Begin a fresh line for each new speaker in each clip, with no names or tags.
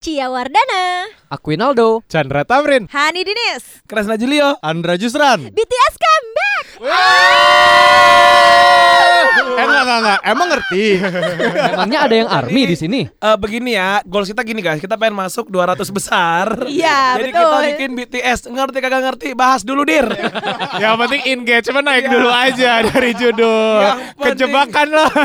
Cia Wardana,
Aku Inaldo.
Chandra Tamrin
Hani Dinis,
Kresna Julio Andra Jusran
BTS comeback.
Eh enggak enggak enggak Emang ngerti
Emangnya ada yang army di sini?
Eh, begini ya, goals kita gini guys, kita pengen masuk 200 besar.
Iya,
Jadi
betul.
kita bikin BTS, ngerti kagak ngerti, bahas dulu dir.
Yang penting engagement naik dulu aja Dari judul
Yang penting.
Kejebakan lah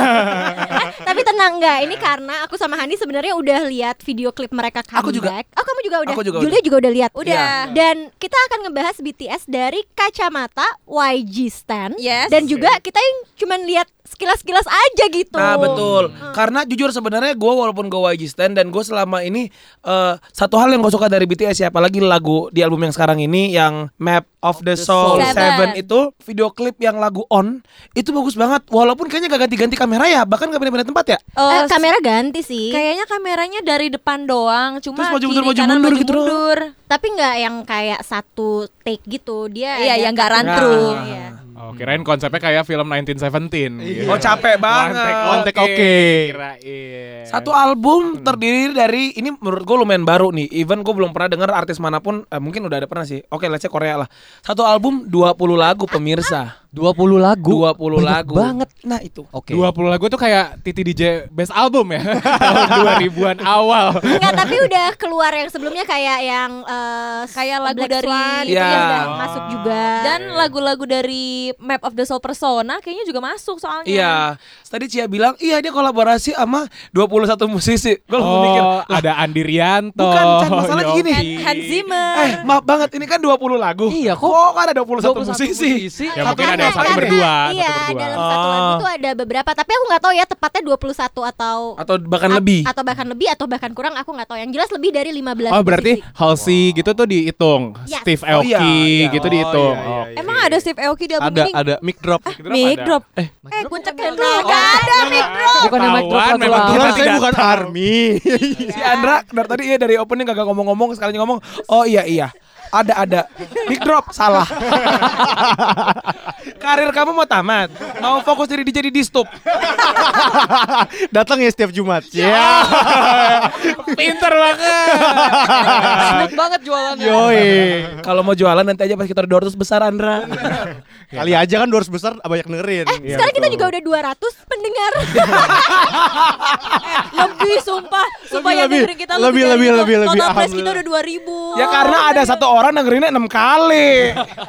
Eh, tapi tenang nggak? Ini karena aku sama Hani sebenarnya udah lihat video klip mereka comeback.
Aku juga.
Oh kamu juga udah.
Aku juga Iya.
Julia juga udah lihat.
Udah.
Dan kita akan ngebahas BTS dari kacamata YG Stan.
Yes.
Dan juga kita yang cuman lihat sekilas-sekilas aja gitu.
Nah betul, karena jujur sebenarnya gue walaupun gue YG stan dan gue selama ini eh, satu hal yang gue suka dari BTS ya, apalagi lagu di album yang sekarang ini yang Map of the, Soul
Soul.
7
Seven.
itu video klip yang lagu On itu bagus banget, walaupun kayaknya gak ganti-ganti kamera ya, bahkan gak pindah-pindah tempat ya.
Eh,
Eh,
kamera ganti sih.
Kayaknya kameranya dari depan doang, cuma
Terus maju
kiri,
mundur, maju
kanan,
mundur gitu doang.
mundur.
Tapi nggak yang kayak satu take gitu. Dia
Iya,
ada-
yang nggak run
Iya,
through.
Nah.
iya.
Oh kirain konsepnya kayak film 1917 gitu.
Oh capek banget.
One take, one take oke Kirain
Satu album terdiri dari ini menurut gue lumayan baru nih. Even gue belum pernah dengar artis manapun, eh, mungkin udah ada pernah sih. Oke, let's say Korea lah. Satu album 20 lagu pemirsa.
20 lagu.
20
Banyak
lagu.
banget.
Nah, itu.
Oke.
20 lagu tuh kayak Titi DJ Best Album ya Tahun 2000-an awal
Enggak, tapi udah keluar yang sebelumnya kayak yang eh,
Kayak lagu
Black
dari- Oh.
Swan itu
Iya.
Ya.
yang udah masuk juga.
Dan lagu-lagu dari Map of the Soul Persona kayaknya juga masuk soalnya.
Iya. Tadi Cia bilang, "Iya, dia kolaborasi sama 21 musisi." Gue langsung mikir,
Oh ada Andi Rianto
Bukan, Chan, masalahnya
Yofi.
gini.
Han- Hans
Iya.
Zimmer.
"Eh, maaf banget, ini kan 20 lagu."
Iya, kok-
Kok kan ada 21,
21
musisi?
musisi.
Ya mungkin ada
Karena-
yang satu
karena-
berdua, satu
Iya,
berdua.
dalam satu lagu
Oh.
tuh ada beberapa, tapi aku nggak tahu ya tepatnya 21 atau
Atau bahkan
at-
lebih.
Atau bahkan lebih atau bahkan kurang aku nggak tahu. Yang jelas lebih dari 15
Oh berarti
musisi.
Halsey gitu tuh dihitung,
Yes.
Steve
Oh,
Aoki
iya, iya.
gitu
Oh,
dihitung.
iya, iya,
Oke.
Emang ada Steve Aoki di album
ada
ini? Eh,
ada mic drop
Mic
ada.
drop. Eh, eh kuncak Gak ada mic drop.
Bukan yang mic drop
Ketahuan,
satu
memang
lagu.
kita
Orang saya
tidak
bukan
tahu.
army
Si Andra dari tadi iya dari opening kagak ngomong-ngomong sekalinya ngomong oh iya iya ada ada big drop salah karir kamu mau tamat mau fokus diri jadi di stop
datang ya setiap Jumat ya
Pinter banget.
Enak banget jualannya.
yoi
kalau mau jualan nanti aja pas kita door terus besar Andra
kali aja kan 200 besar banyak dengerin Iya,
Eh, sekarang kita juga udah 200 pendengar.
Eh, lebih sumpah, sumpah yang
lebih.
dengerin kita lu
Lebih,
3000.
lebih, lebih, lebih.
Total press kita
Alhamdulillah.
udah 2000.
Oh,
ya karena
iya.
ada satu orang dengerinnya enam kali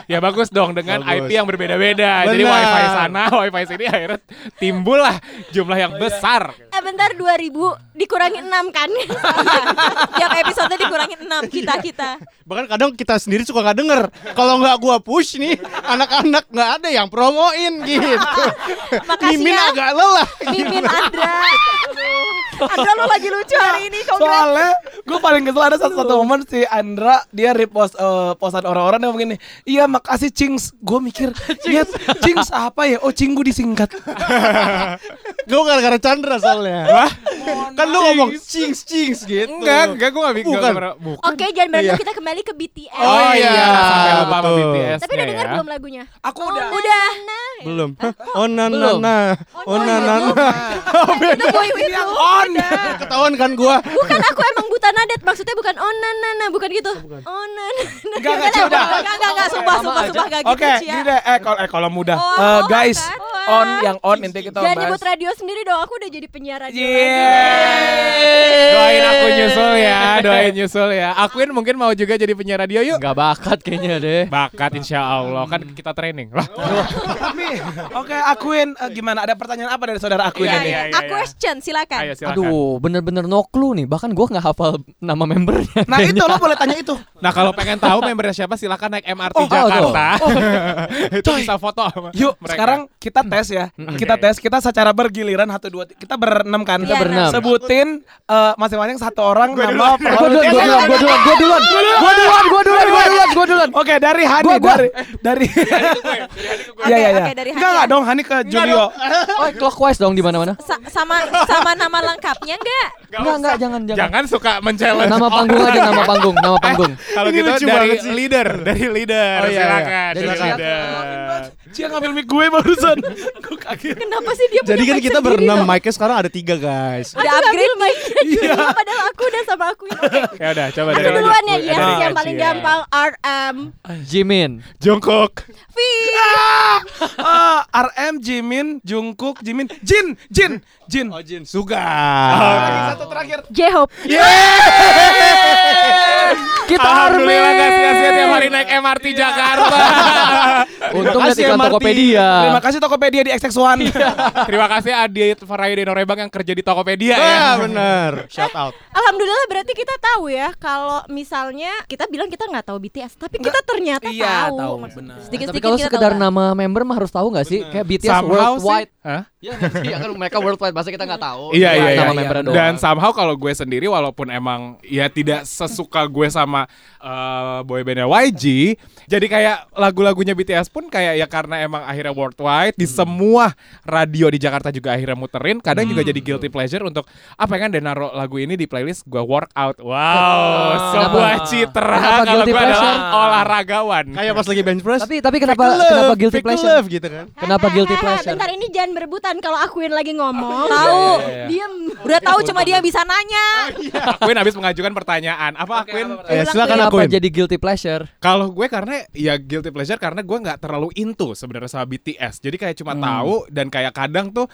ya bagus dong dengan
Bagus.
IP yang berbeda-beda. Jadi
Benar.
wifi sana, wifi sini akhirnya timbul lah jumlah yang besar.
eh bentar 2000 dikurangi 6 kan.
Tiap episode dikurangin 6 kita-kita.
bahkan kadang kita sendiri suka nggak denger kalau nggak gua push nih anak-anak nggak ada yang promoin gitu
Makasih
mimin
ya.
agak lelah
Mimin Andra. Andra lu lagi lucu hari ini kongres.
soalnya gue paling kesel ada satu satu momen si Andra dia repost eh, postan orang-orang yang begini iya makasih Cings gue mikir dia Cings apa ya oh Cinggu disingkat
gue gara-gara Chandra soalnya kan lu ngomong cings cings gitu
Enggak, enggak gue enggak bikin.
Bukan.
Bukan.
Oke, jangan berantem
Iya.
kita kembali ke BTS.
Oh iya,
iya,
sampai lupa sama
betul.
BTS.
Tapi udah dengar belum lagunya? Oh,
aku udah
Udah.
belum oh
nah,
na na
Nah,
na oh na na na
Itu boy itu.
on
ketahuan kan gua
Bukan aku emang buta nadat, maksudnya bukan oh na na na, bukan gitu. Oh na na. na.
Enggak, enggak, Cia, udah.
Enggak, enggak, enggak, sumpah, sumpah, sumpah, enggak gitu,
Oke, gini deh. Eh, kalau eh, kalau mudah,
Oh,
Eh,
oh,
guys,
kan?
on yang on inti kita
Jangan nyebut
bahas.
radio sendiri dong, aku udah jadi penyiar
Iya,
radio.
Yeah.
Doain aku nyusul ya, doain nyusul ya. Akuin mungkin mau juga jadi penyiar radio yuk.
Nggak bakat kayaknya deh.
Bakat insya Allah kan kita training lah.
Oh. Tapi, oke, akuin eh, gimana? Ada pertanyaan apa dari saudara akuin
Iya,
ini?
iya.
A question, silakan.
Ayo silakan.
Aduh, bener-bener no clue nih. Bahkan gua nggak hafal nama membernya.
Nah, itu lo boleh tanya itu.
Nah kalau pengen tahu membernya siapa silakan naik MRT
Oh,
Jakarta. itu
Coy.
bisa foto. sama
Yuk,
mereka.
sekarang kita tes ya. Kita tes, kita secara bergiliran satu dua tiga. kita berenam kan?
Kita
berenam.
Sebutin eh, masing-masing satu orang nama
Gua duluan, gua duluan, gua duluan, gua duluan, gua duluan, gua duluan, gua duluan, gua duluan.
Oke, dari Hani
Gua, gua.
dari dari Iya, iya, iya.
oke, dari Hani
Enggak, enggak
ya.
dong, Hani ke Julio.
Oh, clockwise dong di mana-mana.
Sa- sama sama nama lengkapnya enggak?
Enggak, enggak, jangan, jangan.
Jangan suka men-challenge
Nama panggung
orang.
aja, nama panggung, nama panggung.
Kalau
Ini
gitu
lucu
dari
banget sih.
leader, dari leader.
Oh, iya, iya.
silakan,
Dari
dari
silakan.
leader.
Cia ngambil mic gue barusan. Gue kaget.
Kenapa sih dia
Jadi
punya
kan
mic
kita
sendiri
berenam,
dong?
mic-nya sekarang ada tiga guys.
Aku
Udah
ngambil
upgrade
mic Julia, Padahal aku udah sama aku
Ya udah, coba dari
Aku duluan ya
dari
Yes
Aci,
yang paling
ya.
gampang RM
Jimin.
Jongkok.
V
Ah, RM Jimin, Jungkook, Jimin, Jin, Jin, Jin.
Oh,
Jin Suga.
Satu terakhir.
J-Hope
Kita
Alhamdulillah guys, kasihan
Armin.
tiap hari naik MRT Jakarta.
Untung lihat
kasih,
iklan
MRT.
Tokopedia.
Terima kasih Tokopedia di XX1.
Iya.
Terima kasih Adit Faraide Norebang yang kerja di Tokopedia ya.
Wah, bener. Shout out.
Alhamdulillah berarti kita tahu ya kalau misalnya kita bilang kita nggak tahu BTS tapi kita ternyata
Iya,
tahu.
tahu, benar.
Tapi
Sedikit-sedikit
kalau
kita
sekedar
tahu.
nama member mah harus tahu nggak sih? Kayak BTS
Somehow sih.
worldwide.
Hah?
Iya ya, kan mereka worldwide masa kita nggak tahu.
Iya
Cuma
iya iya.
Nama member doang.
Dan somehow kalau gue sendiri walaupun emang ya tidak sesuka gue sama eh, boybandnya YG, jadi kayak lagu-lagunya BTS pun kayak ya karena emang akhirnya worldwide di
Hmm.
semua radio di Jakarta juga akhirnya muterin. Kadang
Hmm.
juga jadi guilty pleasure untuk apa kan dan naruh lagu ini di playlist gue workout. Wow, sebuah
Oh, Kenapa?
citra
Kenapa
kalau
guilty
gue adalah
pleasure?
olahragawan.
Kayak pas lagi bench press.
tapi tapi kenapa
fake love,
kenapa guilty
fake
pleasure?
love gitu
Eh,
kan.
Kenapa guilty
Hahaha,
pleasure?
Bentar ini jangan berebutan kalau akuin lagi
Oh,
ngomong.
iya,
Tahu.
Diem.
Udah tahu cuma dia yang bisa
Eh,
nanya.
Akuin habis mengajukan pertanyaan. Apa Eh, akuin?
Ya,
Ulang
silakan
Kenapa
akuin.
jadi guilty pleasure?
Kalau gue karena ya guilty pleasure karena gue nggak terlalu into sebenarnya sama BTS. Jadi kayak cuma tahu dan kayak kadang tuh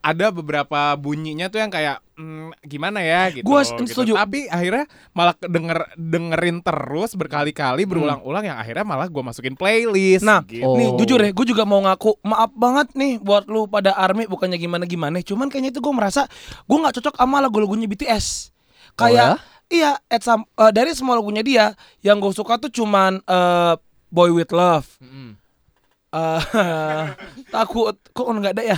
ada beberapa bunyinya tuh yang kayak "Hmm, gimana ya gitu.
Gua
gitu.
setuju.
Tapi akhirnya malah denger dengerin terus berkali-kali berulang-ulang yang akhirnya malah gue masukin playlist.
Nah,
gitu.
Oh.
Nih jujur ya, gue juga mau ngaku maaf banget nih buat lu pada ARMY bukannya gimana-gimana, cuman kayaknya itu gue merasa gue nggak cocok sama lagu-lagunya BTS.
Oh,
Kayak
ya?
iya, at some- eh, dari semua lagunya dia yang gue suka tuh cuman eh, Boy with Love. Eh, takut kok nggak ada ya?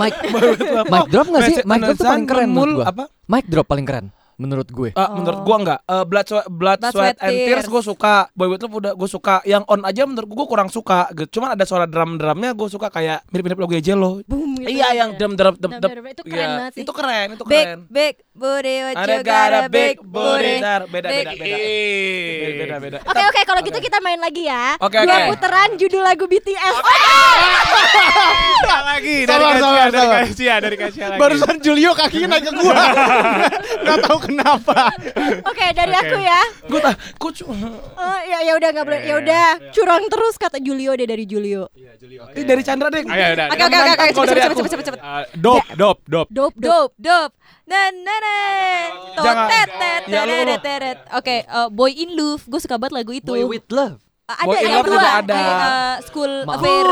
Mic
Boy with Love.
mic drop nggak sih?
Message
Mic drop tuh paling keren
Memul,
menurut gua.
apa?
Mic drop paling keren menurut gue.
Eh, menurut gua enggak Eh, blood sweat blood,
Oh. Blood,
sweat,
Sweat,
and tears,
Tears.
gua suka boy with love udah gua suka yang on aja menurut gua, gua kurang suka gitu cuman ada suara drum drumnya gua suka kayak mirip mirip lagunya Jello
Boom gitu.
iya yang drum drum drum Iya,
Drum, drum, itu keren banget sih.
itu keren itu
Big
keren
big booty what
ada
you got a big booty.
beda beda
Big-
beda beda beda beda
Oke oke kalau gitu kita main lagi ya.
Oke,
Dua
oke.
puteran judul lagu BTS.
Nggak lagi dari
Sabar,
Kasia,
sabar,
dari
sabar.
Kasia, dari Kasia lagi.
Barusan Julio kakinya naik ke gua. Gak tahu kenapa.
Oke dari
Oke.
aku ya.
gua tak gua cuma
Oh, ya ya udah nggak boleh. Ya udah curang terus kata Julio deh dari Julio.
Ini dari Chandra deh
Ayo, udah.
Oke oke oke oke cepet cepet cepet cepet
Iya.
cepet.
Eh, dop, dop, dop.
Dope dope.
Dope dope. Na na na.
Jangan.
Totet tet
Ya, lu, lu, lu.
teret teret. Oke, eh, Boy in Love, gue suka banget lagu itu.
Boy with love.
Eh,
Boy
Ada
in
yang
Love juga
dua.
ada.
Ada School
Maaf.
Affair.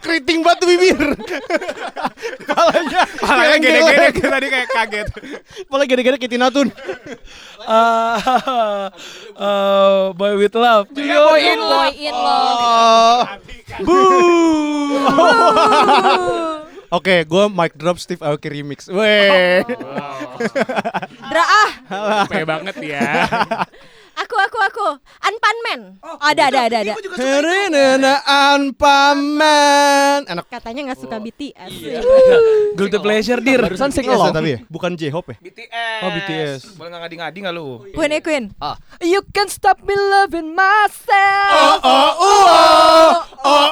Keriting banget bibir. Palanya.
Palanya gede-gede tadi kayak kaget.
Palanya gede-gede kayak Tina Tun.
Eh, eh, boy with love Yo,
Boy in Love.
Oh. Oke, gue mic drop Steve Aoki remix. Weh.
Dra ah.
Capek banget ya.
Aku aku aku. Unpan Man.
Oh,
Ada ada ada ada.
Herinenaan paman. Enak.
Katanya nggak suka
Oh. Iya.
BTS.
guilty pleasure dir
Barusan sing
BTS ya,
along.
tapi ya? bukan J-Hope ya?
BTS
Oh, BTS.
boleh nggak ngadi-ngadi nggak lu
Queen eh, Queen.
Ah, you can stop me loving myself.
Oh, oh, oh, oh, oh,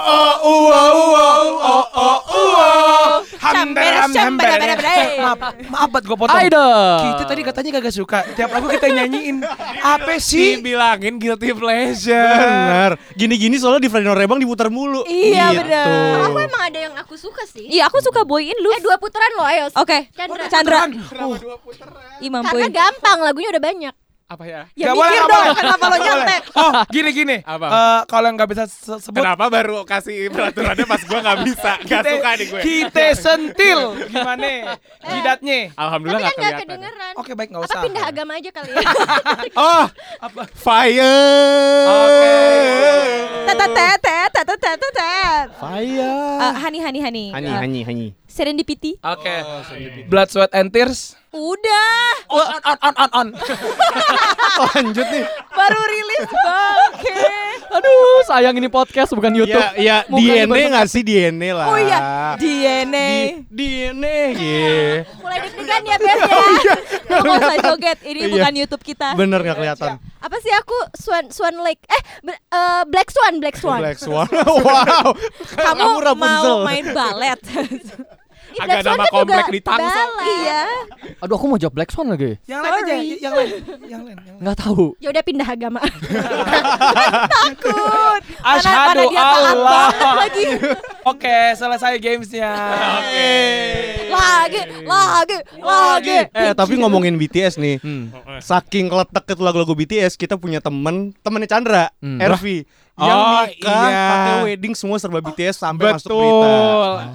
oh, oh, oh, oh,
Chamber, chamber, chamber, chamber.
Maaf, maaf buat gue potong.
Idol.
Kita tadi katanya kagak suka. Tiap lagu kita nyanyiin. Apa sih?
Dibilangin guilty pleasure.
Benar. Gini-gini soalnya di Fredino Rebang diputar mulu.
Iya,
Gitu.
benar.
Aku emang ada yang aku suka sih. Oh,
Iya, aku suka Boy in
Eh
Love.
dua puteran loh ayo.
Oke,
Chandra.
Chandra. Ih, mampuin.
Karena gampang lagunya udah banyak.
Apa ya?
Gak
Ya
boleh,
mikir
gak
dong
boleh.
kenapa lo nyampe.
Oh, gini gini.
Apa?
Eh, kalau yang nggak bisa se- sebut
Kenapa baru kasih peraturannya pas gue nggak bisa, nggak suka nih gue.
kita sentil gimana? Jidatnya.
Alhamdulillah
Tapi kan
nggak
nggak
kelihatan. ya.
ya.
kedengeran.
Oke, baik nggak
Apa
usah.
pindah agama aja kali ya?
Oh,
Apa?
fire.
Oke.
Tetet tetet tetet tetet tetet.
Fire.
Eh, Hani Hani Hani.
Hani,
Eh,
hani, hani.
Serendipity.
Oke. Blood, sweat, and tears.
Udah,
Oh, On on on on on.
Lanjut nih.
baru rilis bang. Oke. Aduh.
Aduh, sayang ini podcast bukan
Iya,
YouTube.
Ya, ya
Mukanya
DNA nggak sih DNA lah.
Oh iya, DNA.
DNA, yeah.
Mulai deg-degan ya Beb ya.
Kamu nggak usah joget, ini
Iya.
bukan YouTube kita.
Bener nggak kelihatan.
Apa sih aku Swan Swan Lake? Eh be- eh, Black Swan, Black Swan.
Black Swan. wow.
Kamu
Rapunzel.
mau main balet.
Ih,
Agak nama
kan juga
komplek di Tangsel.
balet.
iya.
Aduh, aku mau jawab Black Swan lagi.
Yang lain aja,
Sorry.
yang lain, yang lain. yang lain.
Nggak tahu.
Ya udah pindah agama.
Takut.
Asyhadu
dia taat
Allah.
banget lagi.
Oke, selesai gamesnya.
lagi, lagi, lagi.
Eh tapi ngomongin BTS nih, saking letek itu lagu-lagu BTS kita punya temen, temennya Chandra,
Hmm.
Ervi, yang
Oh,
nikah
iya.
pakai wedding semua serba BTS sampai masuk berita.
Betul. Nah.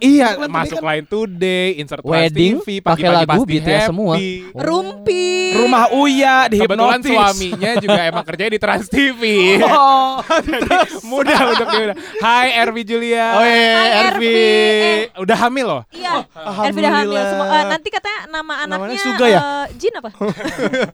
Iya,
Bukan
masuk
tadi kan
Line Today, Insert Trust
Wedding,
TV,
pakai
Pagi-Pagi
lagu
Pasti
BTS semua.
Happy.
Oh.
Rumpi.
Rumah Uya di
Kebetulan
hipnotis.
suaminya juga emang kerja di Trans TV.
Oh.
Jadi mudah untuk diundang. Hai Ervi Julia.
Oh iya,
Hai,
Ervi.
Ervi.
Udah hamil loh.
Iya. Ervida hamil
Alhamdulillah.
semua. Eh, nanti katanya nama
Namanya
anaknya
Suga ya?
eh, Jin apa?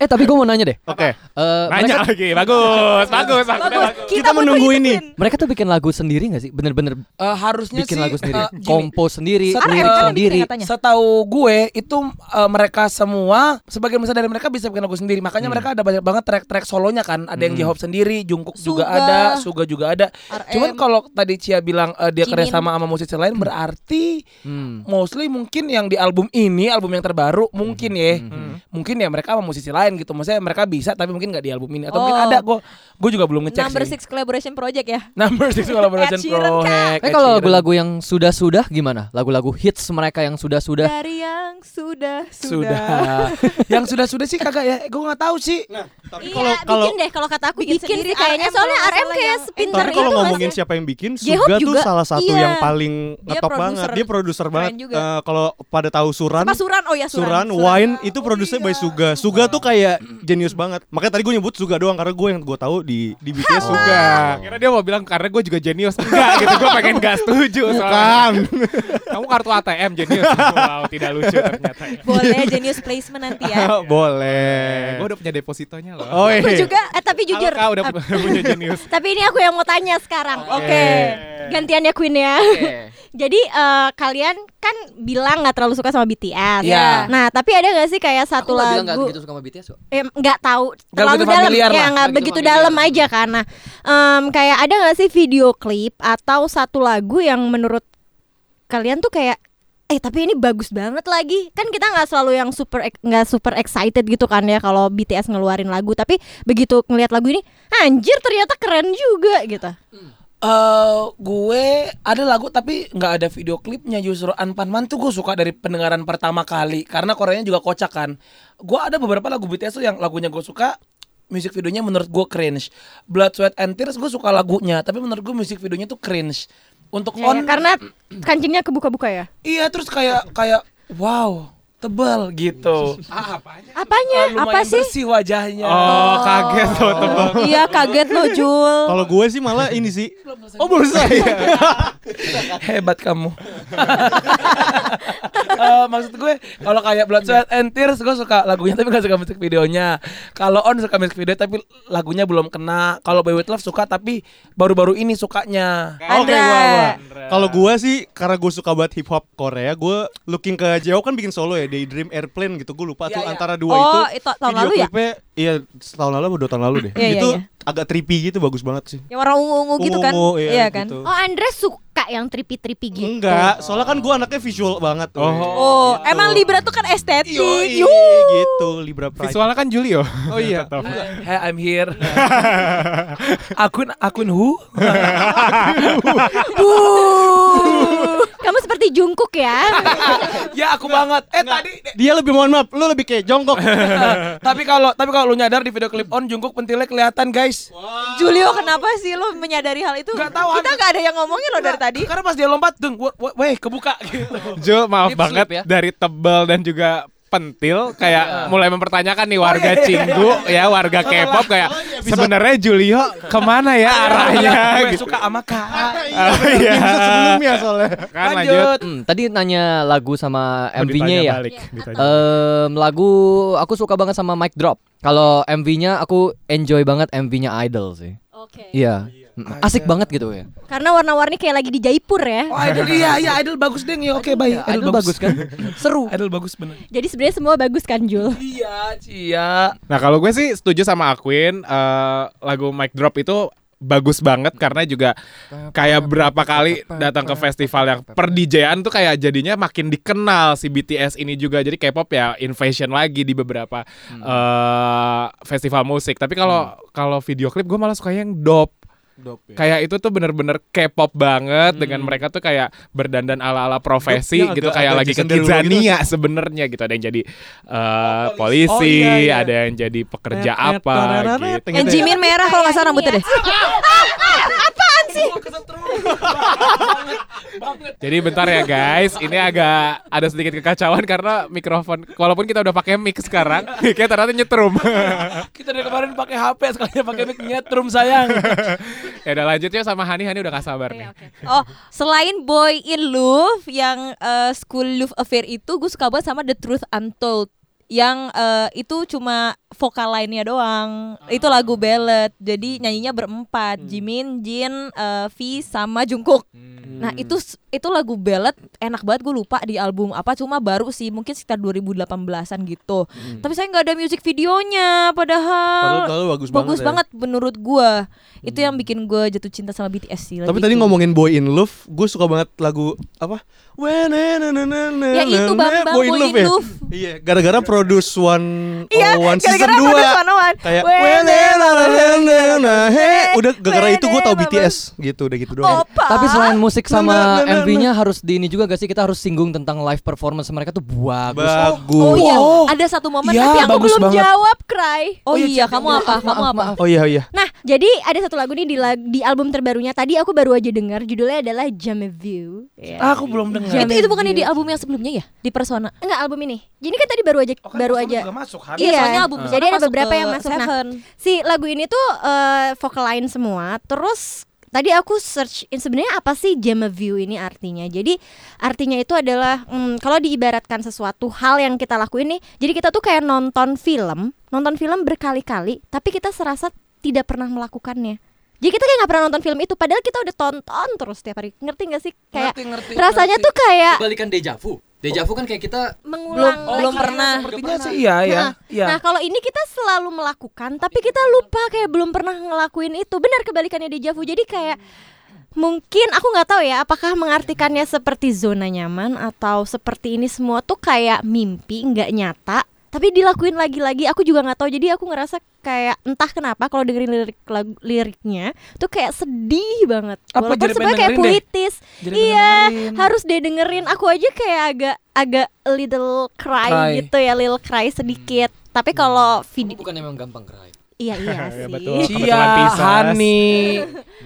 Eh, tapi gue mau nanya deh.
Oke,
Eh, mereka,
Oh. Nanya lagi, bagus, bagus, bagus.
Bagus.
kita
butuh
menunggu
itu,
ini.
Queen.
mereka tuh bikin lagu sendiri nggak sih? Bener-bener
Eh, harusnya
bikin
sih,
lagu sendiri,
eh, gini.
kompos sendiri, lirik
Set- Ada kan yang
sendiri.
bikin katanya?
Setahu gue itu eh, mereka semua sebagian besar dari mereka bisa bikin lagu sendiri. Makanya
Hmm.
mereka ada banyak banget track-track solonya kan. Ada yang J-Hope sendiri, Jungkook juga
Suga.
ada, Suga juga ada.
RM.
Cuman kalau tadi Cia bilang eh, dia kerja
Jimin.
sama sama musisi lain berarti
Hmm.
mostly mungkin yang di album ini, album yang terbaru mungkin ya.
Hmm.
Mungkin ya mereka sama musisi lain gitu. Maksudnya mereka bisa tapi mungkin nggak di album ini atau mungkin
Oh.
ada gue gue juga belum ngecek
Number
sih.
six collaboration project ya.
Number six collaboration
Ed Sheeran, Kak.
project.
Eh
Ed
kalau
Sheeran.
lagu-lagu yang sudah-sudah gimana? Lagu-lagu hits mereka yang
Iya,
sudah-sudah.
Dari yang sudah
sudah.
sudah.
yang sudah sudah sih kagak ya. Gue nggak tahu sih.
tapi
Iya,
kalau kalau
bikin deh kalau kata aku bikin,
Bikin
sih
sendiri,
kayaknya
RM
soalnya
kalau
RM
masalah
kayak
yang-
pinter
tapi
itu
kalau
nggak
ngomongin
sih?
siapa yang bikin,
J-Hope
Suga tuh
juga.
salah satu
Iya.
yang paling
Dia
ngetop
produser.
banget. Dia produser banget.
juga.
Eh, kalau pada tahu Suran,
Apa Suran? Oh ya Suran.
Suran, Wine
Oh,
itu produsernya
iya.
by Suga. Suga tuh kayak
Hmm.
jenius banget. Makanya tadi gue nyebut Suga doang karena gue yang gue tahu di di BTS
Oh.
Suga.
Kira dia mau bilang karena gue juga jenius enggak gitu gue pengen gak setuju soalnya.
Bukan.
kamu kartu ATM jenius wow tidak lucu ternyata ya.
Boleh genius placement nanti ya.
Eh,
Boleh.
gue udah punya depositonya loh
Oh
Aku
iya.
juga, eh tapi jujur.
Alka udah
ap-
pu- punya jenius
Tapi ini aku yang mau tanya sekarang. Oke. Gantiannya Queen ya. Jadi eh, kalian kan bilang nggak terlalu suka sama BTS.
Iya.
Nah, tapi ada nggak sih kayak
Aku
satu
nggak bilang nggak
lagu
gitu suka sama BTS kok.
eh, nggak tahu
Nggak
terlalu
begitu
dalam
familiar
ya
lah.
nggak
Nggak
begitu
begitu
dalam
familiar.
aja karena em, kayak ada nggak sih video klip atau satu lagu yang menurut kalian tuh kayak eh tapi ini bagus banget lagi kan kita nggak selalu yang super ex- nggak super excited gitu kan ya kalau BTS ngeluarin lagu tapi begitu ngelihat lagu ini anjir ternyata keren juga gitu
Eh, gue ada lagu tapi nggak ada video klipnya justru Anpanman tuh gue suka dari pendengaran pertama kali karena Koreanya juga kocak kan. Gue ada beberapa lagu BTS tuh yang lagunya gue suka, musik videonya menurut gue cringe. Blood Sweat and Tears gue suka lagunya tapi menurut gue musik videonya tuh cringe. Untuk
Ya, ya,
on
karena kancingnya kebuka-buka ya
iya terus kayak kayak wow tebal gitu. Eh,
apanya
lumayan
apa sih
bersih wajahnya.
oh kaget tuh tebak
Iya kaget lo Jul.
Kalau gue sih malah ini sih. Oh belum selesai.
Hebat kamu. Eh, maksud gue kalau kayak Blood Sweat and Tears gue suka lagunya tapi gak suka musik videonya. Kalau On suka musik video tapi lagunya belum kena. Kalau By With Love suka tapi baru-baru ini sukanya.
Oke,
Andra.
gua- gua. Kalau gue sih karena gue suka banget hip hop Korea, gue looking ke Jeho kan bikin solo ya, Daydream Airplane gitu. Gue lupa tuh antara dua
Oh,
itu.
itu tahun
video
lalu ya?
klipnya, Iya, tahun lalu atau dua tahun lalu deh.
Iya, iya,
itu
iya.
agak trippy gitu, bagus banget sih.
Yang warna ungu-ungu gitu kan?
Ungu-ungu, iya,
kan?
gitu.
oh Andre suka yang tripi-tripi gitu
Enggak, soalnya kan gue anaknya visual banget. tuh.
Oh.
Oh, emang Libra tuh kan estetik.
Yoi,
Yuh.
gitu Libra Pride.
visualnya kan Julio
Oh iya.
Tetep.
Hey, I'm here. akun akun who?
kamu seperti Jungkook ya
ya aku banget. Eh tadi Eh,
Dia lebih mohon maaf, lu lebih kayak jongkok.
tapi kalau tapi kalau lu nyadar di video klip On Jungkook pentilnya kelihatan, guys.
Julio kenapa sih lo menyadari hal itu?
Nggak tahu,
Kita
Andre.
nggak ada yang ngomongin lo dari tadi.
Karena pas dia lompat, deng, weh, weh, kebuka gitu.
Jo maaf
Lip
banget
slip ya.
dari tebal dan juga pentil kayak mulai mempertanyakan nih warga
iya, iya,
cinggu ya warga K-pop kayak sebenarnya Julio kemana ya arahnya
Gue
gitu
suka sama Kak.
Oh, iya.
Episode sebelumnya soalnya.
kan lanjut
Lanjut.
Hmm, tadi nanya lagu sama
Oh,
MV-nya
ditanya
ya.
balik, ditanya.
Em, lagu aku suka banget sama Mic Drop. Kalau MV-nya aku enjoy banget MV-nya Idol sih.
Oke.
Iya. Asik banget gitu ya.
Karena warna-warni kayak lagi di Jaipur ya.
Oh idol iya iya idol bagus deh ya oke baik
Idol bagus kan? Seru.
Idol bagus bener.
Jadi sebenarnya semua bagus kan Jul.
Iya Cia.
Nah kalau gue sih setuju sama Aquin eh, lagu Mic Drop itu bagus banget karena juga kayak berapa kali datang ke festival yang per DJ-an tuh kayak jadinya makin dikenal si BTS ini juga jadi K-pop ya invasion lagi di beberapa eh, festival musik. Tapi kalau kalau video klip gue malah suka yang Hmm. dop. ya? Hmm. Kayak itu tuh bener-bener K-pop banget dengan mereka tuh kayak berdandan ala-ala profesi
Yang agak-
gitu kayak
agak
lagi ke
cenderung gitu.
Kidzania sebenarnya gitu ada yang jadi eh, polisi,
polisi. Oh, iya, iya.
ada yang jadi pekerja
Ya
apa gitu.
ya.
Yang Eh, Jimin merah kalau nggak salah rambutnya deh.
Iya.
Jadi bentar ya guys, ini agak ada sedikit kekacauan karena mikrofon. Walaupun kita udah pakai mic sekarang, kayak ternyata nyetrum.
Kita dari kemarin pakai HP sekalinya pakai mic nyetrum sayang.
ya udah lanjutnya sama Hani, Hani udah gak sabar nih.
Iya,
Oh, selain Boy in Love yang eh, School Love Affair itu gue suka banget sama The Truth Untold yang eh, itu cuma vokal lainnya doang. Itu lagu ballad. Jadi nyanyinya berempat, Jimin, Jin, eh, V sama Jungkook. Nah, itu s- itu lagu ballad enak banget gue lupa di album apa cuma baru sih mungkin sekitar 2018-an gitu. Tapi saya nggak ada music videonya padahal.
Padahal bagus banget.
Bagus
ya.
banget, menurut gua. Itu yang bikin gua jatuh cinta sama BTS sih.
Tapi
lebih
tadi
ke-
ngomongin Boy in Love, gue suka banget lagu apa? When
Ya itu Bang Bang Boy in
ya?
Love.
Iya, gara-gara Produce One oh,
Iya,
One season
gara-gara Produce 101.
2
Kan
kayak
When
When
and
udah gara-gara itu gue tau
When and
BTS gitu udah gitu doang.
Opa.
Tapi selain musik
Nah, nah,
sama
nah, nah,
MV-nya harus di ini juga gak sih kita harus singgung tentang live performance mereka tuh bagus.
Oh
Bagus.
iya,
Wow.
ada satu momen
Iya,
tapi aku
bagus
belum
banget.
jawab, Cry.
Oh
Oh,
iya,
iya,
Cek,
kamu
iya,
apa? kamu apa?
Oh iya iya.
Nah, jadi ada satu lagu nih di, lag- di album terbarunya. Tadi aku baru aja dengar judulnya adalah Jam View. Ya.
Ah, Aku belum
Iya,
dengar.
Itu itu bukan di album yang sebelumnya ya? Di Persona.
Enggak album ini. Jadi kan tadi baru aja
Oh, kan
baru
Persona
aja.
juga masuk kan?
Iya, soalnya album
Jadi
Persona
ada
masuk
beberapa
ke
yang masuk. Nah,
Seven.
si lagu ini tuh eh, vocal line semua. Terus tadi aku search in- sebenarnya apa sih jam view ini artinya. Jadi artinya itu adalah mm, kalau diibaratkan sesuatu hal yang kita lakuin nih. Jadi kita tuh kayak nonton film, nonton film berkali-kali, tapi kita serasa tidak pernah melakukannya. Jadi kita kayak nggak pernah nonton film itu, padahal kita udah tonton terus tiap hari. Ngerti nggak sih? Kayak
Ngerti, ngerti,
rasanya
ngerti.
tuh kayak
Oh, Balikan deja vu. Deja vu kan kayak kita
mengulang
Belum- Oh, belum
lagi.
pernah.
Sepertinya sih iya ya.
Nah, Nah, kalau ini kita selalu melakukan, tapi kita lupa kayak belum pernah ngelakuin itu. Benar kebalikannya di Javu. Jadi kayak mungkin aku nggak tahu ya apakah mengartikannya seperti zona nyaman atau seperti ini semua tuh kayak mimpi nggak nyata tapi dilakuin lagi-lagi aku juga nggak tahu jadi aku ngerasa kayak entah kenapa kalau dengerin lirik lagu- liriknya tuh kayak sedih banget
Apa,
walaupun
jadi pengen
sebenarnya kayak
dengerin deh?
puitis
Jadi
iya
pengen dengerin.
harus deh dengerin aku aja kayak agak agak a little cry,
Cry.
gitu ya little cry sedikit tapi kalau
Kamu
video
bukan emang gampang kerai.
iya iya sih
betul. Oh,
Cia,
Kebetulan Pisces.
Iya.
Hani.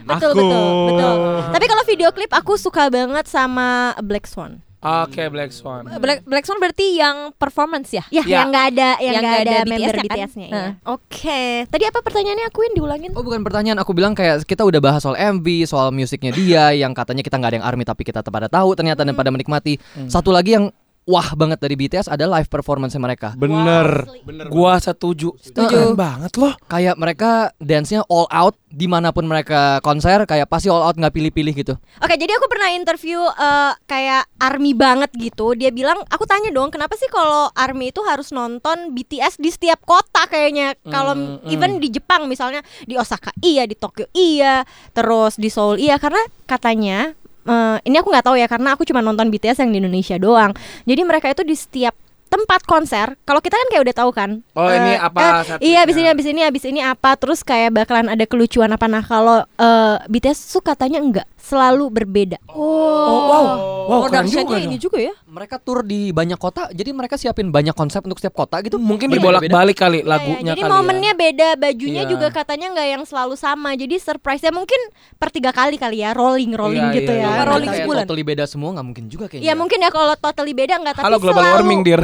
betul betul betul tapi kalau video klip aku suka banget sama Black Swan
Oke, Black Swan.
Black Black Swan berarti yang performance ya?
ya,
Ya.
yang nggak ada yang
Yang
nggak
nggak
ada,
ada
member
BTS-nya kan?
BTS-nya iya.
Heeh.
oke tadi apa pertanyaannya akuin diulangin
Oh bukan pertanyaan, aku bilang kayak kita udah bahas soal MV, soal musiknya dia yang katanya kita nggak ada yang ARMY tapi kita pada tahu ternyata
Hmm.
dan pada menikmati. Satu lagi yang wah banget dari BTS ada live performance mereka.
Bener.
Gua setuju. Setuju banget loh.
Kayak mereka dance-nya all out dimanapun mereka konser kayak pasti all out nggak pilih-pilih gitu.
Oke, jadi aku pernah interview eh, kayak army banget gitu. Dia bilang, aku tanya dong, kenapa sih kalau army itu harus nonton BTS di setiap kota kayaknya? Kalau
Mm,
even di Jepang misalnya, di Osaka iya, di Tokyo iya, terus di Seoul iya, karena katanya eh, ini aku nggak tahu ya karena aku cuma nonton BTS yang di Indonesia doang. Jadi mereka itu di setiap tempat konser, kalau kita kan kayak udah tahu kan.
Oh,
eh,
ini apa ya?
eh, iya, abis ini
satunya.
abis ini abis ini apa terus kayak bakalan ada kelucuan apa nah kalau eh, BTS tuh katanya enggak selalu berbeda
Oh, wow. Wow, keren juga.
Production-nya
dong.
ini juga ya?
Mereka tur di banyak kota, jadi mereka siapin banyak konsep untuk setiap kota gitu.
Hmm.
Mungkin
Beda-beda.
dibolak-balik kali
Iya,
lagunya
jadi
kali. ya.
momennya beda bajunya
Iya.
juga katanya enggak yang selalu sama jadi surprise nya mungkin per tiga kali kali ya rolling rolling
Iya,
gitu
iya,
ya
iya.
Mereka
rolling
kayak
sebulan. Iya,
Totally beda semua nggak mungkin juga kayaknya.
Ya mungkin ya kalau totally beda enggak tapi
Halo global
selalu
warming, Dir.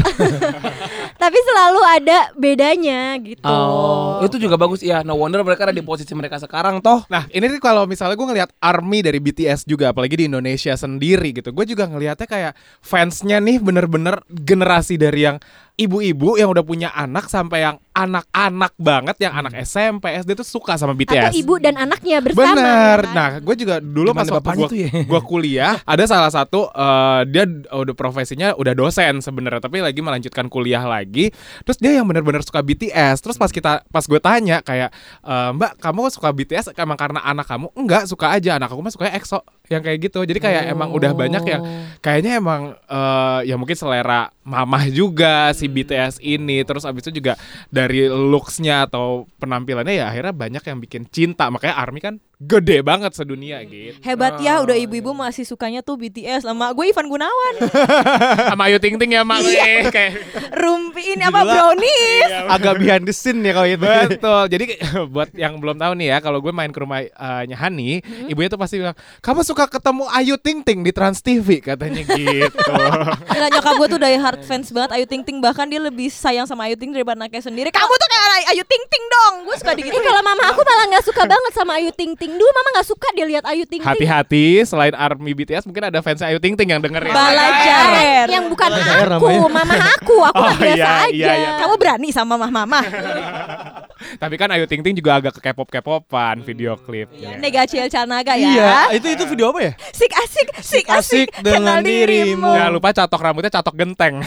tapi selalu ada bedanya gitu.
Oh, itu juga bagus ya. No wonder mereka ada di posisi mereka sekarang toh.
Nah ini nih kalau misalnya gue ngelihat ARMY dari BTS juga apalagi di Indonesia sendiri gitu Gue juga ngelihatnya kayak fansnya nih bener-bener generasi dari yang ibu-ibu yang udah punya anak sampai yang anak-anak banget yang anak SMP SD tuh suka sama
Atau
BTS.
ibu dan anaknya bersama.
Bener.
kan?
Nah, gue juga dulu
Gimana
pas waktu
bapaknya
gua,
tuh ya?
gua kuliah, ada salah satu eh, dia d- udah profesinya udah dosen sebenarnya, tapi lagi melanjutkan kuliah lagi. Terus dia yang benar-benar suka BTS. Terus pas kita pas gue tanya kayak eh, Mbak, kamu suka BTS emang karena anak kamu? Enggak, suka aja. Anak aku mah sukanya EXO yang kayak gitu. Jadi kayak emang udah banyak yang
Oh.
kayaknya emang eh, ya mungkin selera mamah juga
Hmm.
si BTS ini terus abis itu juga dari looksnya atau penampilannya ya akhirnya banyak yang bikin cinta makanya ARMY kan gede banget sedunia
Hmm.
gitu
Hebat
Oh,
ya, udah
iya.
ibu-ibu masih sukanya tuh BTS lama gue Ivan Gunawan.
sama Ayu Ting Ting ya mak eh, kayak
Rumpi ini apa
Gila.
brownies?
Iya. Agak behind the scene ya kalau itu.
betul jadi buat yang belum tahu nih ya kalau gue main ke rumahnya Hani
Hmm.
ibunya tuh pasti bilang kamu suka ketemu Ayu Ting Ting di Trans TV katanya gitu
Gila nyokap gue tuh dari hard fans banget Ayu Ting Ting bahkan dia lebih sayang sama Ayu Ting Ting daripada anaknya sendiri. Kamu tuh kayak Ayu- Ayu Ting Ting dong. Gue suka
Eh
digituin.
kalau mama aku malah nggak suka banget sama Ayu Ting Ting. Dulu mama nggak suka dia lihat Ayu Ting Ting.
hati-hati selain ARMY BTS mungkin ada fans Ayu Ting Ting yang ya. dengerin
Balajar.
Yang bukan
Belajar
aku,
namanya.
mama aku, aku mah
Oh,
biasa
iya,
aja.
Ya,
iya, iya.
Kamu berani sama mama-mama.
Tapi kan Ayu Ting Ting juga agak ke K-pop-K-popan
Iya,
video Ya. klipnya.
Nega Ciel Canaga ya.
Iya, itu itu video apa ya?
Sik asik, sik asik,
asik dengan dirimu.
Jangan lupa catok rambutnya catok genteng.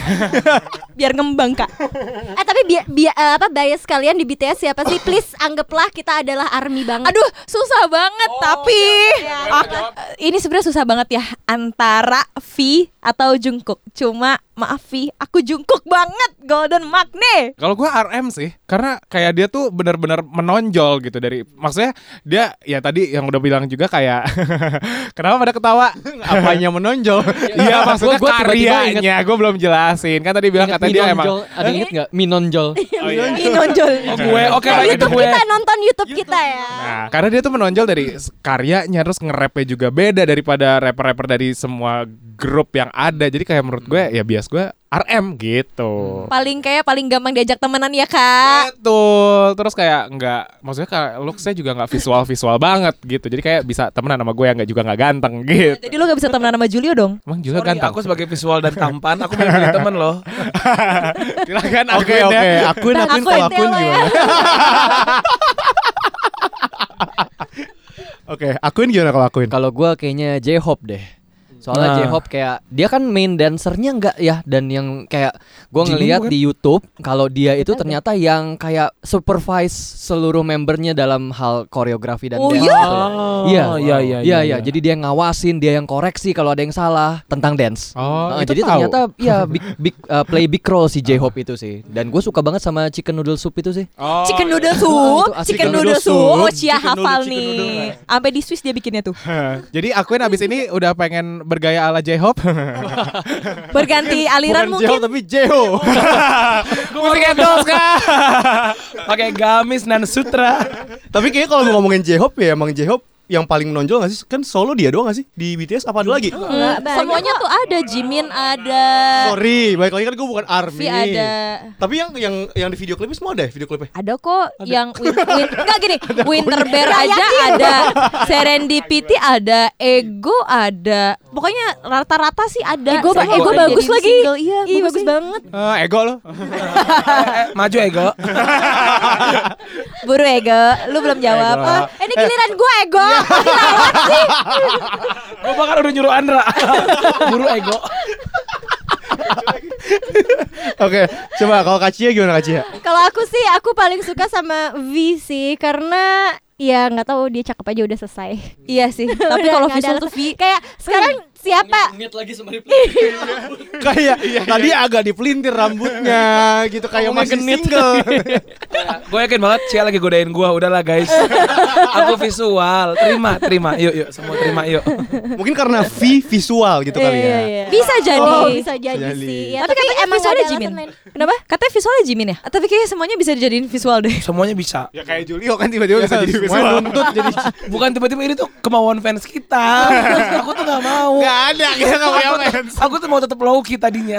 Biar ngembang kak.
Eh tapi bi bi- eh, apa bias kalian di BTS siapa sih? Please anggaplah kita adalah army banget.
Aduh, susah banget
Oh,
tapi ah, ini sebenarnya susah banget ya antara V atau Jungkook. Cuma maaf V, aku Jungkook banget Golden Magne.
Kalau gua RM sih, karena kayak dia tuh benar-benar menonjol gitu dari maksudnya dia ya tadi yang udah bilang juga kayak kenapa pada ketawa?
Apanya menonjol?
Iya maksudnya
Gua- gua tiba-tiba
karyanya, gue belum jelasin kan tadi bilang
Ingat
kata dia emang.
Minonjol, ada yang inget nggak
Iya.
Minonjol?
Oh, iya.
Inonjol.
Oh, gue oke
Nah,
lah itu
YouTube
gue.
kita nonton YouTube kita ya.
Nah, karena dia tuh menonjol dari s- karyanya terus nge-rapnya juga beda daripada rapper-rapper dari semua grup yang ada. Jadi kayak menurut gue ya bias gue RM
Hmm.
gitu.
Paling kayak paling gampang diajak temenan ya kak.
Betul. Terus kayak nggak maksudnya kayak looks-nya juga nggak visual-visual banget gitu. Jadi kayak bisa temenan sama gue yang nggak juga nggak ganteng
iya.
gitu.
Jadi lu gak bisa temenan sama Julio dong.
Emang juga
Sorry,
ganteng.
aku sebagai visual dan tampan, aku milih temen loh. Eh,
Silakan
Oke
akuin
oke,
ya.
akuin akuin
Akuin
kalau
deh,
akuin
lo ya.
gimana? Oke, akuin gimana kalau akuin?
Kalau gua kayaknya J-Hope deh. Soalnya
Nah.
J-Hope kayak dia kan main dancernya enggak ya dan yang kayak gua
Jimin
ngelihat
bukan?
di YouTube kalau dia itu ternyata yang kayak supervise seluruh membernya dalam hal koreografi dan
Oh,
dance
iya?
gitu. Iya.
iya, iya,
Iya iya, jadi dia yang ngawasin, dia yang koreksi kalau ada yang salah tentang dance.
Oh,
Nah,
itu
jadi
tahu.
ternyata ya big big uh, play big role si J-Hope itu sih. Dan gue suka banget sama chicken noodle soup itu sih.
Oh,
Chicken
iya.
noodle
Oh,
soup,
itu asli.
chicken
Chicken
noodle
noodle
soup.
soup.
Oh, Cia
Chicken noodle,
hafal
chicken
nih.
noodle.
Sampai di Swiss dia bikinnya tuh.
Jadi akuin abis ini udah pengen bergaya ala J-Hope.
Berganti aliran
Bukan
mungkin.
Jeho, tapi Jeho.
Musik endorse kah?
Pakai gamis nan sutra.
tapi kayaknya kalau mau ngomongin J-Hope ya emang J-Hope yang paling menonjol gak sih? Kan solo dia doang gak sih? Di BTS apa ada lagi?
Hmm,
Oh, Banyak
semuanya tuh ada, Jimin ada,
Sorry, baik lagi kan gue bukan
V
ARMY
ada.
Tapi yang yang yang di video klipnya semua ada ya video klipnya?
Ada kok yang win, win, enggak gini, Winter Bear aja ada, Serendipity ada, Ego ada. Pokoknya rata-rata sih ada.
Ego, ba-
Semua
ego
orang
bagus
jadiin
lagi.
single.
Ih,
Iya, bagus
bagus banget.
Eh, ego lo.
Eh, Maju ego.
Buru Ego, Eh. Iya. lu belum jawab.
Ah, ini giliran gue ego.
Gue bahkan udah nyuruh Andra. Buru ego.
Oke, coba kalau Kacia gimana Kacia?
Kalau aku sih aku paling suka sama V sih karena ya nggak tahu dia cakep aja udah selesai.
Iya sih, tapi
Udah,
kalau
nggak ada
visual
alasan.
tuh Vi
Kayak sekarang siapa?
Ingat lagi sama replay.
Kayak tadi agak dipelintir rambutnya gitu kayak masih single.
Gue yakin banget Cia lagi godain gue. Udahlah guys. Aku visual. Terima, terima. Yuk, yuk. Semua terima, yuk.
Mungkin karena V visual gitu kali ya.
Iya, bisa
Iya,
jadi.
Oh, bisa jadi
Jadi.
sih. Ya,
tapi, katanya emang
nggak
visualnya
ada
Jimin.
alasan lain.
Kenapa? Katanya visualnya Jimin ya? Tapi kayaknya semuanya bisa dijadiin visual deh.
Semuanya bisa.
Ya kayak Julio kan tiba-tiba bisa jadi
Semua
visual.
nuntut jadi
Bukan tiba-tiba ini tuh kemauan fans kita. Aku tuh gak mau. ya,
Gak ada kita nggak punya fans.
Aku tuh mau tetap low key tadinya.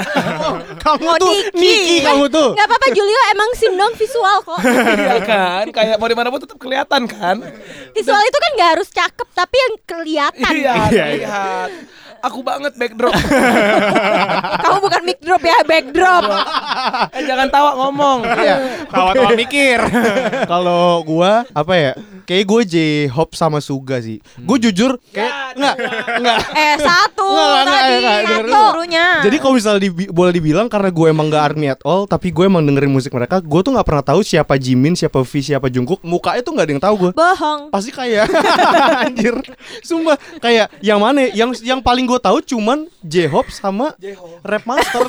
kamu
Oh,
tuh Niki kamu tuh.
Gak apa-apa Julio emang sindrom visual kok.
Iya kan? Kayak mau dimana pun tetap kelihatan kan?
Visual itu kan gak harus cakep tapi yang kelihatan.
Iya,
Iya, iya.
lihat. aku banget backdrop.
Kamu bukan mic drop ya, backdrop.
eh, jangan tawa ngomong.
Tawa-tawa mikir.
Kalau gua apa ya? Kayak gue J Hope sama Suga sih. Gue jujur kayak enggak enggak.
eh, satu
Nggak, nggak,
tadi,
nggak, nggak,
satu
nggak.
suruhnya.
Jadi kalau misalnya dibi- boleh dibilang karena gue emang gak army at all, tapi gue emang dengerin musik mereka, gue tuh nggak pernah tahu siapa Jimin, siapa V, siapa Jungkook. Mukanya tuh nggak ada yang tahu gue.
bohong.
Pasti kayak anjir. Sumpah kayak yang mana? ya? Yang yang paling gue tahu cuman J-Hope sama Rap Master.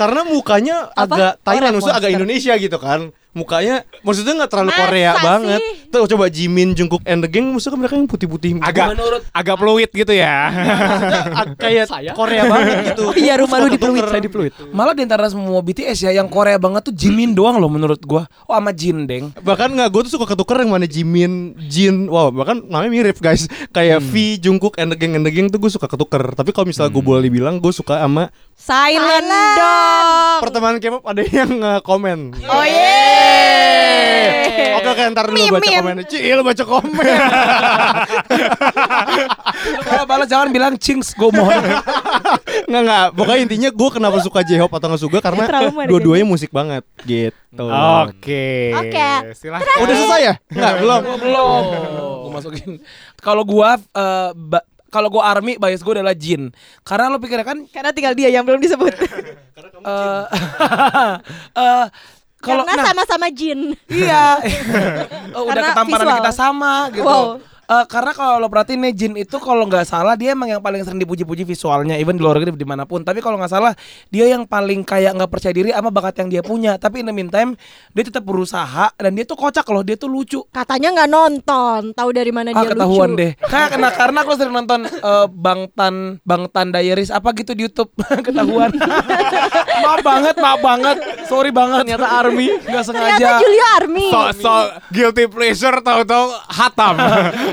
Karena mukanya
Oh,
agak Thailand, maksudnya agak Indonesia gitu kan. Mukanya maksudnya nggak terlalu
Masa
Korea
sih?
banget. Tuh coba Jimin, Jungkook and the Gang maksudnya mereka yang putih-putih
Agak agak peluit gitu ya.
Ag- kayak Korea banget gitu. Oh iya rumah lu di Pluit, saya di Pluit.
Malah di antara semua BTS ya yang Korea banget tuh Jimin doang loh menurut gua. Oh sama Jin Deng.
Bahkan nggak gue tuh suka ketuker yang mana Jimin, Jin, wow bahkan namanya mirip guys. Kayak V, Jungkook, and the gang and the gang tuh gue suka ketuker. Tapi kalau misalnya gue boleh bilang gue suka sama
Silent dong.
pertemanan K-pop ada yang eh, komen.
Oh yeah.
Eh, Oke oke ntar lu baca
Mimin.
komennya Cil baca komen
Lu Kalau balas jangan bilang Cings gua mohon.
Nggak nggak Pokoknya intinya gue kenapa suka J-Hope atau nggak suka Karena
Trauma deh
dua-duanya musik banget Gitu
Oke.
Oke.
Silahkan.
Udah selesai ya? Nggak belum
Belum. Gua masukin. Kalau gua eh, ba- kalau gua army bias gua adalah Jin. Karena lo pikirnya kan
Karena tinggal dia yang belum disebut.
eh eh, kalau
Karena
nah,
sama-sama jin.
Iya. Oh, udah
Karena
ketamparan
visual.
kita sama gitu.
Wow.
Eh, karena kalau lo perhatiin nih Jin itu kalau nggak salah dia emang yang paling sering dipuji-puji visualnya even di luar negeri dimanapun tapi kalau nggak salah dia yang paling kayak nggak percaya diri sama bakat yang dia punya tapi in the meantime dia tetap berusaha dan dia tuh kocak loh dia tuh lucu
Katanya nggak nonton. Tahu dari mana
ah
dia
ketahuan
lucu.
deh kayak karena karena aku sering nonton eh, Bang Tan Bang Tan Diaries apa gitu di YouTube ketahuan maaf banget maaf banget sorry banget ternyata Army nggak
Ternyata
sengaja
Julio Army.
So, so guilty pleasure tahu-tahu hatam.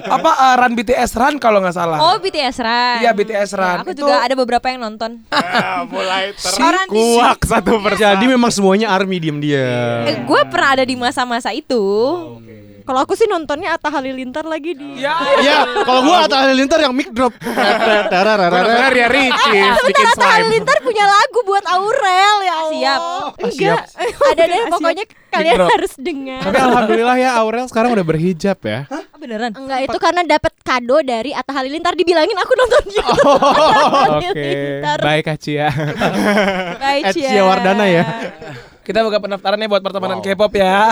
apa eh, Run BTS Run kalau nggak salah
Oh BTS Run.
Iya, BTS Run.
Ya, aku
Itu-
juga ada beberapa yang nonton.
Ah, Mulai
Orang di-
terkuak satu persatu.
Jadi memang semuanya army diam-diam
Eh, gue pernah ada di masa-masa itu.
Oh,
Kalau aku sih nontonnya Atta Halilintar lagi di.
Ya.
Ya, kalau gua Atta Halilintar yang mic drop.
Karena
Tererererere.
dia ricis ya, Iya, bikin
Atta
slime.
Halilintar punya lagu buat Aurel ya Allah.
Siap.
Enggak. Ada deh pokoknya kalian harus dengar.
Tapi alhamdulillah ya Aurel sekarang udah berhijab ya.
Beneran?
Enggak itu karena dapat kado dari Atta Halilintar dibilangin aku nonton YouTube.
Oh, Oke. Baik Aci ya.
Bye,
At
Cia.
Cia Wardana ya.
Eh.
Kita buka pendaftarannya buat pertemanan K-pop ya.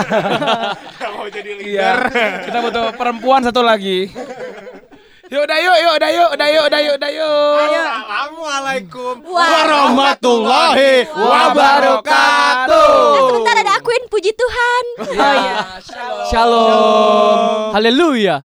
Mau jadi
Iya. Kita butuh perempuan satu lagi. Yuk udah yuk, yuk udah yuk, udah yuk, udah yuk, udah yuk.
Assalamualaikum
Warahmatullahi
Nah,
Ya.
sebentar ada akuin puji Tuhan.
Shalom.
Haleluya.